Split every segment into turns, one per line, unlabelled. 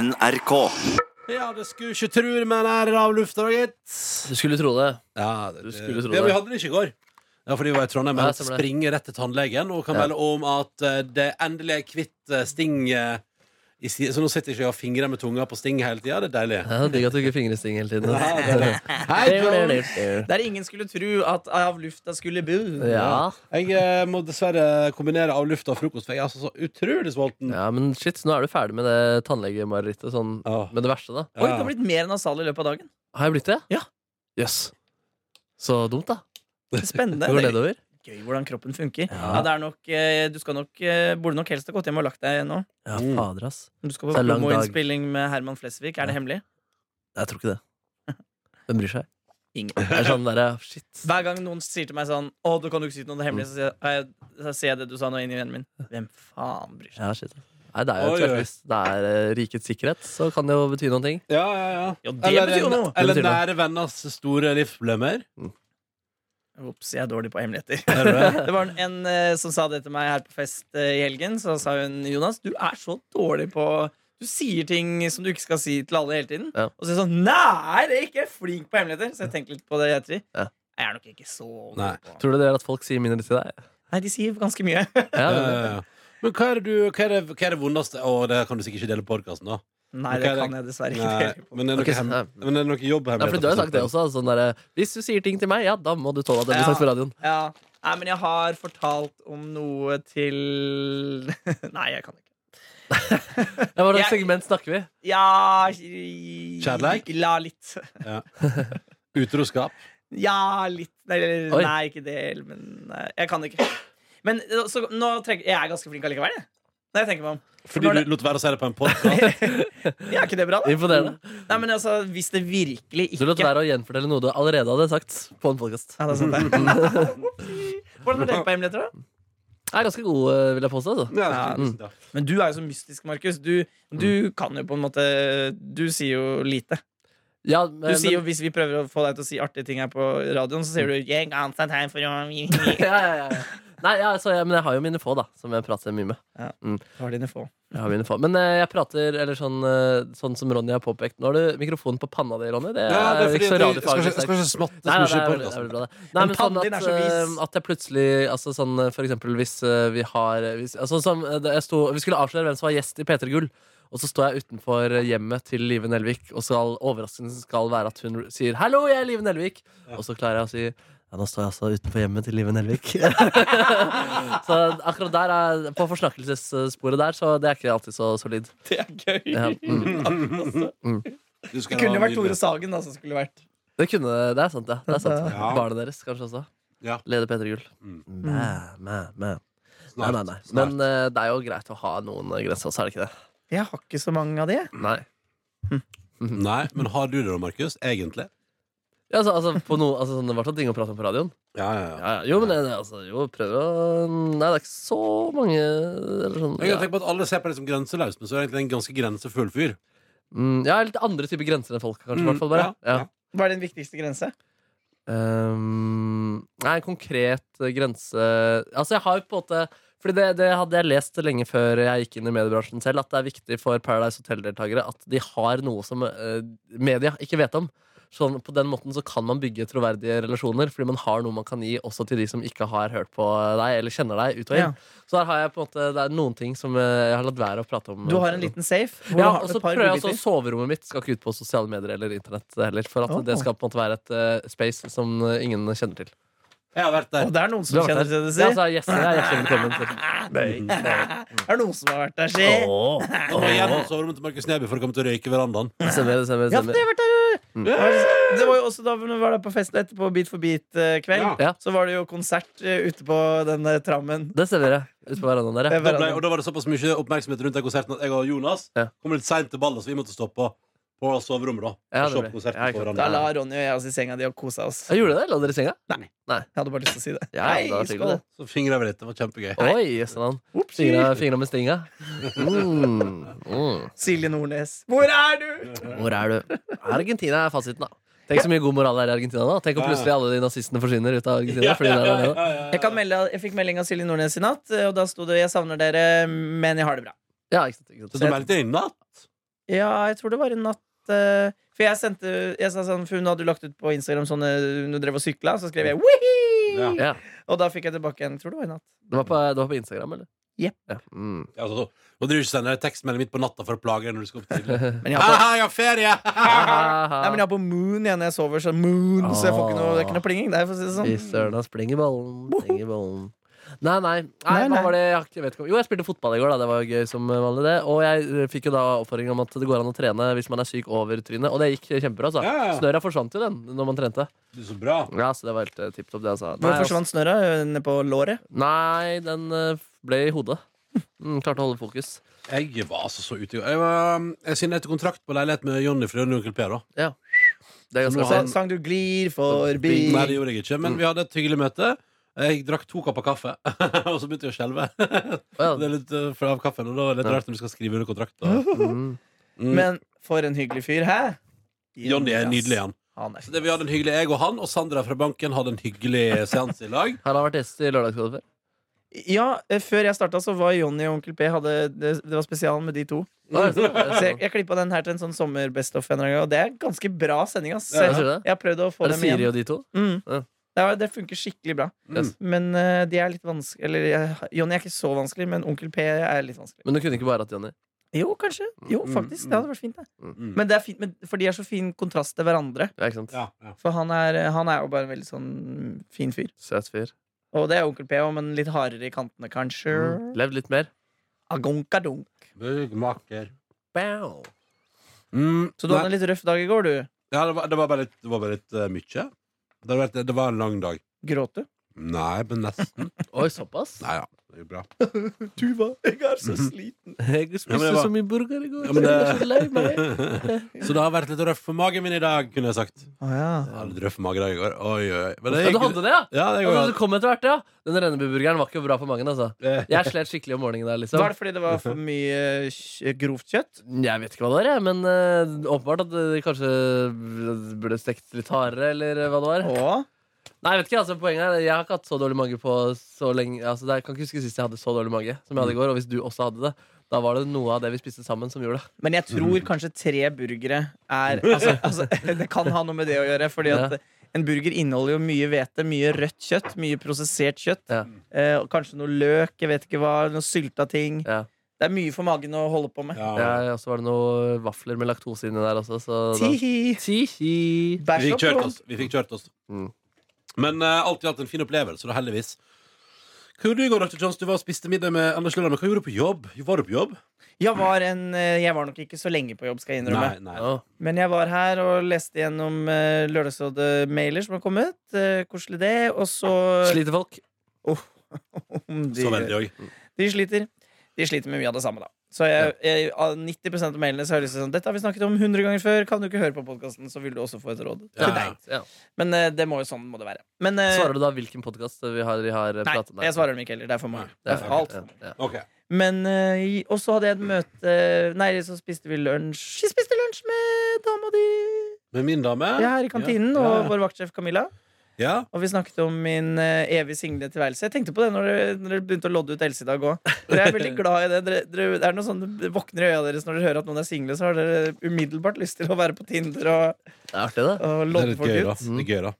NRK.
Ja, det skulle ikke tro det med den her av lufta, da, gitt.
Du skulle tro det.
Ja, det,
Du
det,
skulle tro
ja,
det.
vi hadde den ikke i går. Ja, fordi vi var i Trondheim.
Nei,
Men
stemmer det.
springer rett til tannlegen og kan
Ja.
melde om at eh, det endelig er kvitt eh, sting. eh, i si- Så nå sitter ikke jeg og fingrer med tunga på sting hele tida. Det er deilig.
Ja, Digg at du ikke fingresting hele tiden.
Ja, det er det. Hei, John.
Ja.
Der ingen skulle tro at av lufta skulle bo.
Jeg eh, må dessverre kombinere av luft og frokost, for jeg er altså så utrolig sulten.
ja, men shit, nå er du ferdig med det tannlegemarerittet. Sånn,
Åh.
med det verste, da.
Oi, det har blitt mer nasal i løpet av dagen.
Har jeg blitt det?
Ja.
Jøss. Så dumt, da. Det
Spennende.
går
Det er
nedover.
gøy hvordan kroppen funker. Ja. det er nok, eh, du skal nok, eh, burde nok helst ha gått hjem og lagt deg nå.
Ja,
Mm.
fader, ass.
Du skal
Så
på
det er lang dag.
promoinnspilling med Herman Flesvig. Er det hemmelig?
Jeg tror ikke det. Hvem bryr seg?
Ingen.
Det er sånn derre Shit.
Hver gang noen sier til meg sånn Å, du kan jo ikke si noe om det hemmelige, så sier jeg, «Nei, så ser jeg det du sa nå, inn i vennen min. Hvem faen bryr seg?
Ja, shit. Nei, det er jo
Oi, oi.
klart hvis det er eh, rikets sikkerhet, så kan det jo bety noen ting.
Ja, ja, ja.
Ja, det
Eller,
betyr jo noe.
Det
eller
betyr noe.
nære venners store livsproblemer.
Ops, jeg er dårlig på hemmeligheter.
Er det det?
Det var en eh, som sa det til meg her på fest eh, i helgen. Så sa hun Jonas, du er så dårlig på Du sier ting som du ikke skal si til alle hele tiden.
Ja.
Og så er jeg sånn Nei, jeg er ikke flink på hemmeligheter. Så jeg tenkte litt på det i ettertid.
Ja.
Jeg er nok ikke så god
Nei.
på
Tror du det er at folk sier mindre til deg?
Nei, de sier ganske mye.
Ja,
Ja, ja, ja. Men hva er det, du, hva er det, hva er det vondeste Å, det kan du sikkert ikke dele på podkasten, da.
Nei,
Ok,
det
det-
kan jeg dessverre ikke.
Nei,
dele på.
men, er det
Ok,
noe hem,
nei.
men er det noe jobb her?
Ja, for du har jo sagt det også. da, Sånn derre, hvis du sier ting til meg, ja, da må du tåle at det blir
Ja.
sagt på radioen.
Ja. Nei, men jeg har fortalt om noe til Nei, jeg kan ikke.
Ja, Hva slags
Jeg-
segment snakker vi?
Ja
Kjærleik?
La litt.
Utroskap.
Ja, litt. Nei, eller-
Oi.
nei ikke det, men nei, jeg kan ikke. Men eh, så, nå trenger, jeg er ganske flink allikevel, jeg. Når jeg tenker meg om.
Fordi
Når det-
du lot være å si det på en podkast.
Ja, er ikke det bra, da?
Imponerende.
Nei, men altså, hvis det virkelig ikke
Du lot være å gjenfortelle noe du allerede hadde sagt på en podkast.
ja, det er sant, det. Hvordan er dere på hemmeligheter, da?
Jeg er ganske god, eh, vil jeg påstå. Altså.
Ja,
Ja.
tusen takk.
Men du er jo så mystisk, Markus. Du, du kan jo på en måte Du sier jo lite.
Ja,
Du sier jo, Hvis vi prøver å få deg til å si artige ting her på radioen, så sier du «Jeg kan ta tegn for å-
ja, ja, ja, ja. Nei, ja, altså, jeg, men jeg har jo mine få, da, som jeg prater mye med.
Har dine få.
Jeg har mine få. Men eh, jeg prater eller sånn, eh, sånn som Ronny har påpekt. Nå har du mikrofonen på panna di, Ronny. Det er,
Ja, det er fordi du- jeg
ikke så
skal
radiofaglig.
ikke- jeg skal ikke smatte så
Nei,
mye
nei, det
i
er veldig, det er
podkasten.
veldig bra det. Nei, men sånn
pannen din
at,
er så vis.
eh, at jeg plutselig altså sånn, eh, For eksempel hvis eh, vi har hvis, altså, som, eh, da jeg sto, Vi skulle avsløre hvem som var gjest i P3 Gull. Og så står jeg utenfor eh, hjemmet til Live Nelvik, og skal, overraskelsen skal være at hun sier 'Hallo, jeg er Live Nelvik'. Og så klarer jeg å si ja, nå står jeg altså utenfor hjemmet til Live Nelvik. så akkurat der er, på forsnakkelsessporet der, så det er ikke alltid så solid.
Det er gøy.
Ja, mm.
Du skal
Det kunne
ha
vært
nydelig.
Tore Sagen da, som skulle vært
Det kunne Det er sant, det. det er sant.
Ja.
Barnet deres kanskje også.
Ja.
Leder P3 Gull.
Mm.
Mæ, mæ, mæ. Nei,
Snart,
nei, nei.
snart.
Men eh, det er jo greit å ha noen eh, grenser, så er det ikke det?
Jeg har ikke så mange av de. jeg.
Nei.
Nei, men har du det da, Markus? Egentlig?
Ja, altså, altså, på noe, altså, sånn, det var sånn ting å prate om på radioen.
Ja, ja, ja.
Ja, ja. Jo, men det, det- altså, jo, prøver å Nei, det er ikke så mange eller sånn,
Jeg
ja.
kan tenke på at Alle ser på deg som grenseløs, men så er du egentlig en ganske grensefull fyr.
Mm, ja, litt andre typer grenser enn folk, kanskje. i
Mm,
hvert fall bare.
ja,
Ja.
ja.
Hva er din viktigste grense?
Ehm, nei, en konkret eh, grense Altså, jeg har jo på en måte Fordi det, det hadde jeg lest lenge før jeg gikk inn i mediebransjen selv, at det er viktig for Paradise Hotel-deltakere at de har noe som eh, media ikke vet om. Sånn, på den måten så kan man bygge troverdige relasjoner, fordi man har noe man kan gi også til de som ikke har hørt på deg eller kjenner deg ut og inn. Så der har jeg på en måte, det er noen ting som eh, jeg har latt være å prate om.
Du har en liten safe. hvor
Ja,
du har
og
et
så
par
prøver jeg også
godbiter.
Soverommet mitt skal ikke ut på sosiale medier eller internett heller. For at
Oh.
det skal på en måte være et eh, space som eh, ingen kjenner til.
Jeg har vært
Og
der.
det er noen
Du
som
har vært
kjenner
der.
til det,
Ja,
si.
altså, yes, jeg er hjertelig velkommen til
Det er noen som har vært der, si.
Og gjennom soverommet til Markus Neby for å komme til å røyke verandaen.
Det Stemmer, det stemmer, det
Ja, for
stemmer.
det har vært der. Det var jo også da vi var der på festen etterpå, Beat for beat-kveld.
Ja.
Ja.
Så var det jo konsert eh, ute på den eh, trammen.
Det stemmer, ja. Ute på verandaen der,
Det
ja.
Da
var-
ble, og da var det såpass mye oppmerksomhet rundt den konserten at jeg og Jonas
Ja.
kom litt seint til ballet, så vi måtte stoppe på soverommet da.
Ja,
og
det
se
ble-
på konserten
ja,
på
klart.
Da la
verandaen.
Ronny og jeg oss i senga di og kosa oss.
Jeg gjorde det? Lå dere i senga?
Jeg hadde bare lyst til å si det.
Ja, det var
Hei,
hyggelig,
skål.
det.
Så fingra vi litt. Det var kjempegøy.
Oi, jøsseland. Fingra, fingra med stinga. Mm. Mm.
Silje Nordnes. Hvor er du?
Hvor er du? Argentina er fasiten, da. Tenk så mye god moral det er i Argentina. da Tenk om plutselig alle de nazistene forsvinner ut av Argentina. Fordi det er der nede.
Jeg, kan melde, jeg fikk melding av Silje Nordnes i eh, natt, og da sto det 'Jeg savner dere, men jeg har det bra'.
Ja, ikke sant, ikke
Så
sant.
du meldte deg inn, da?
Ja, jeg tror det var en natt eh, For jeg sendte jeg sa sånn, For hun hadde jo lagt ut på Instagram sånne hun drev og sykla, så skrev jeg Wihi!
Ja.
Ja.
Og da fikk jeg tilbake en Tror det var i natt.
Det var på, det var på Instagram, eller?
Jepp.
Ja. Mm.
Ja, altså, Nå driver du ikke og sender tekstmelding midt på natta for å plage deg når du skal opp
Eh.
tidlig.
Men jeg har på,
Ha-ha, jeg har ferie! Ah!
nei, men jeg har på Moon igjen når jeg sover, så Moon, så jeg får ikke noe, det er ikke noe plinging der, for å si det
Fy
sånn.
søren, han sprenger ballen. Sprenger ballen. Nei, nei. nei,
Nei,
hva
nei.
Var det, jeg har ikke- vet ikke om. Jo, jeg spilte fotball i går, da. Det var jo gøy som vanlig, det. Og jeg eh, fikk jo da oppfordring om at det går an å trene hvis man er syk over trynet. Og det gikk kjempebra, altså.
Ja, ja.
Snørra forsvant jo den når man trente.
Du, så bra.
Ja, så det var helt tipp topp, det, altså.
Hvor
Nei, altså.
forsvant snørra? eh, Ned på låret?
Nei, den eh, ble i hodet. Mm, klarte å holde fokus.
Jeg var altså så ute i går. Jeg, var- um, jeg signerte kontrakt på leilighet med Jonny fra Jonny og Onkel P. da.
Det er ganske
Nå
Så
har-
bra.
han-
sang du 'Glir forbi'.
Nei, det gjorde jeg ikke,
Mm.
men vi hadde et hyggelig møte. Jeg drakk to kopper kaffe, og så begynte jeg å skjelve.
Å,
Det
ja.
er litt eh, fra av kaffen, og da er det litt
Ja.
rart når du skal skrive under kontrakt. Og...
Mm.
Mm.
Men for en hyggelig fyr, hæ?
Jonny er
ass.
nydelig, han.
Han er
Så det Vi hadde en hyggelig jeg og han, og Sandra fra banken hadde en hyggelig seanse i lag.
Har han vært gjest i Lørdagsrådet før?
Ja, eh, før jeg starta, så var Jonny og Onkel P hadde, det, det var spesialen med de to.
Å, er det sånn? Er
Så
det
jeg,
sånn?
jeg klippa den her til en sånn sommer-best of en eller annen gang, og det er ganske bra sending, ass.
Ja,
jeg tror det.
Jeg har prøvd å få
Er det
dem
Siri
igjen.
og de to?
Mm.
Ja.
Det, er- det funker skikkelig bra.
Mm.
Men eh, de er litt vanskelig Eller jeg- Jonny er ikke så vanskelig, men Onkel P er litt vanskelig.
Men du kunne ikke bare hatt Jonny?
Jo, kanskje. Jo,
Mm,
faktisk.
mm,
Det hadde vært fint, det.
Mm.
Men det er fint, men, for de er så fin kontrast til hverandre.
Ja, ikke sant?
Ja, ja.
For han er, han er jo bare en veldig sånn fin fyr.
Søt fyr.
Og det er Onkel P òg, men litt hardere i kantene, kanskje.
Mm. Levd litt mer.
Agonkadonk.
Byggmaker.
Bow.
Mm,
Så du
nei.
hadde en litt røff dag i går, du.
Ja, det var, det var bare litt, det var bare litt eh, mye. Det var, det var en lang dag.
Gråt du?
Nei, men nesten.
Oi, såpass?
Nei ja, det gikk bra.
Tuva, jeg er så
Mhm.
sliten.
Jeg
Ja, men
spiste
det var-
så mye burger i går.
Ja, men det-
Jeg er så lei meg.
Så det har vært litt røff for magen min i dag, kunne jeg sagt.
Å ja.
Jeg hadde litt røff mage i dag i går. Oi, oi. Men det
Ja, du
gikk-
hadde det, ja?
Ja, det går
Altså, det
godt.
kom etter hvert, ja. Den rennebuburgeren var ikke bra for magen. altså
Eh,
Jeg slet skikkelig om morgenen der. liksom Mm,
Var det fordi det var for mye eh, grovt kjøtt?
Jeg vet ikke hva det var, jeg, men eh, åpenbart at det kanskje eh, burde stekt litt hardere. Eller eh, hva det var
Og
Nei, jeg vet ikke, altså poenget er Jeg har ikke hatt så dårlig mage på så lenge. Altså, det- jeg kan ikke huske sist jeg hadde så dårlig mage som jeg
Mm.
hadde i går. Og hvis du også hadde det, da var det noe av det vi spiste sammen, som gjorde det.
Men jeg tror
Mm.
kanskje tre burgere er altså, altså, Det kan ha noe med det å gjøre. Fordi at en burger inneholder jo mye hvete, mye rødt kjøtt, mye prosessert kjøtt.
Ja.
Eh, og kanskje noe løk, jeg vet ikke hva, noe sylta ting.
Ja.
Det er mye for magen å holde på med.
ja.
Jeg, og så var det noe vafler med laktose inni der også. Så da,
Tihi!
Tihi.
Vi
Bæsj
fikk
opp
kjørt
på-
oss. Vi fikk kjørt oss.
Mm.
Men eh, alt i alt en fin opplevelse, da, heldigvis. Hva gjorde du i går, Dr. Johns? Du var og spiste middag med Anders Lund. Men hva gjorde du på jobb? Var du på jobb?
Jeg var, en, eh, jeg var nok ikke så lenge på jobb, skal jeg
Nei,
innrømme.
nei.
Ja.
Men jeg var her og leste gjennom eh, Lørdagsrådet-mailer som har kommet. Eh, koselig det. Og så
Sliter folk?
Så veldig òg.
De sliter. De sliter med mye av det samme, da. Så jeg, jeg, av 90 av mailene så har jeg lyst til sånn Dette har vi snakket om 100 ganger før. Kan du ikke høre på podkasten, så vil du også få et råd.
Ja,
til
ja.
deg.
Ja.
Men eh, det må jo sånn må det være. Men eh,
Svarer du da hvilken podkast vi har, vi har
Nei,
pratet
jeg svarer dem ikke heller. Det er for mange. Det er for alt. for mange.
Ja.
Ok.
Men eh, i- Og så hadde jeg et møte Nei, så spiste vi lunsj. Vi spiste lunsj med dama di
Med min dame?
ja, her i kantinen
Ja.
og vår vaktsjef Camilla.
Ja.
Og vi snakket om min eh, evig single tilværelse. Jeg tenkte på det når dere, når dere begynte å lodde ut Else i dag òg. Jeg er veldig glad i det. Dere, dere, det er noe sånn, det våkner i øya deres når dere hører at noen er single, så har dere umiddelbart lyst til å være på Tinder og,
Det er artig, det.
og
Det er
lodde
litt
folk
gøy, da.
ut.
Det er gøy, da.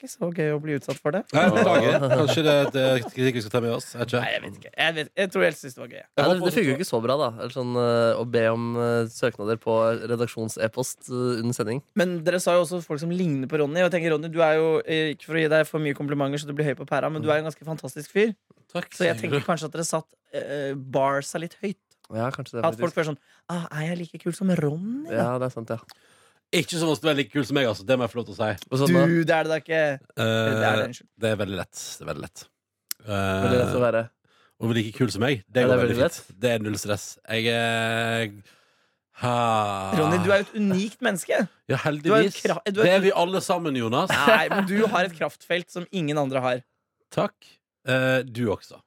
Det er ikke så gøy å bli utsatt for det.
Nei, beklager. Kanskje det er et eh, kritikk vi skal ta med oss. Jeg vet
Nei,
ikke.
jeg vet ikke. Jeg, vet, jeg tror Else syntes det var gøy.
Nei, det, det funker jo ikke så bra, da. Eller sånn, eh, å be om eh, søknader på redaksjons-e-post eh, under sending.
Men dere sa jo også folk som ligner på Ronny. Og jeg tenker, Ronny, du er jo, eh, Ikke for å gi deg for mye komplimenter så du blir høy på pæra, men du er en ganske fantastisk fyr.
Takk.
Så jeg tenker kanskje at dere satt eh, barsa litt høyt.
Ja, kanskje det er
At folk
faktisk.
føler sånn ah, Er jeg like kul som Ronny? da?»
Ja, det er sant, ja.
Ikke så vanskelig å være like kul som meg, altså. Det må jeg få lov til å si.
Og sånn, da,
Du, det er det da ikke.
Eh,
Det er det, unnskyld.
det er veldig lett. Det er veldig lett.
vil det så
Uh,
være.
å være like kul som meg, det
Ja,
går
det er
veldig
veldig
fint. Det er null stress. Jeg er ha.
Ronny, du er jo et unikt menneske.
Ja,
Du er jo
heldigvis.
kra- du er-
Det er vi alle sammen, Jonas.
Nei, men du har et kraftfelt som ingen andre har.
Takk. Eh, du også.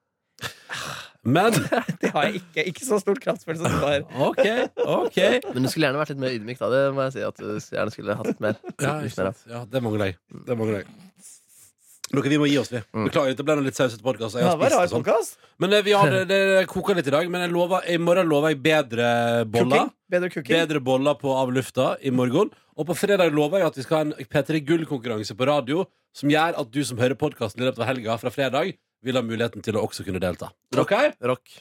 Men
Det har jeg ikke. Ikke så stort kraftfelt som du har.
OK, OK.
Men du skulle gjerne vært litt mer ydmyk, da. Det må jeg si at du gjerne skulle hatt litt mer.
Ja,
litt
ikke
mer av.
sant. ja det mangler jeg. Det mangler jeg. Men Dere, vi må gi oss, vi. Beklager, dette ble en litt sausete podkast.
Mm. Det var rar podkast.
Men eh, vi har, det, det koker litt i dag, men jeg lover, i morgen lover jeg bedre boller.
Cooking. Bedre cooking.
Bedre boller på Av lufta i morgen. Og på fredag lover jeg at vi skal ha en P3 Gull-konkurranse på radio som gjør at du som hører podkasten i løpet av helga fra fredag, vil ha muligheten til å også kunne delta. Ok?
Rock.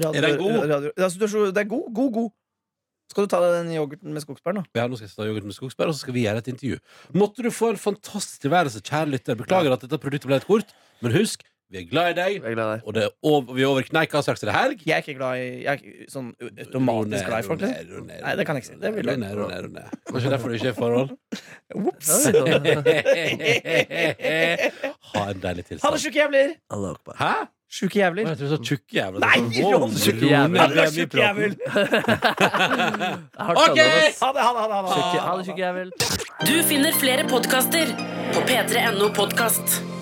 Radio,
Er den god?
Radio, altså, du er så, det er god, god, god. Skal du ta deg den yoghurten med skogsbær nå?
Ja, nå skal jeg ta yoghurt med skogsbær, og så skal vi gjøre et intervju. Måtte du få en fantastisk tilværelse, kjære lytter. Beklager at dette produktet ble litt kort, men husk, vi er glad i deg,
Jeg gleder meg.
og det er over, vi er over kneika straks til det helg.
Jeg er ikke glad i Jeg er ikke sånn automatisk glad i folk. liksom. Nei, det kan jeg ikke si. Det vil jeg-
Ro ned, ro ned. Kanskje derfor du ikke er i forhold.
Ops.
Ha en deilig
Ha det,
tilstand.
sjuke jævler!
Hæ?
Sjuke
Å,
jævler.
Jeg tror du sa tjukke jævla.
Nei, Ron,
tjukke
Ha det, tjukke jævel!
Jeg har tatt med oss.
Ha det, ha det, ha det! Ha det.
Ha det, tjukke jævel.
Du finner flere podkaster på p3.no podkast.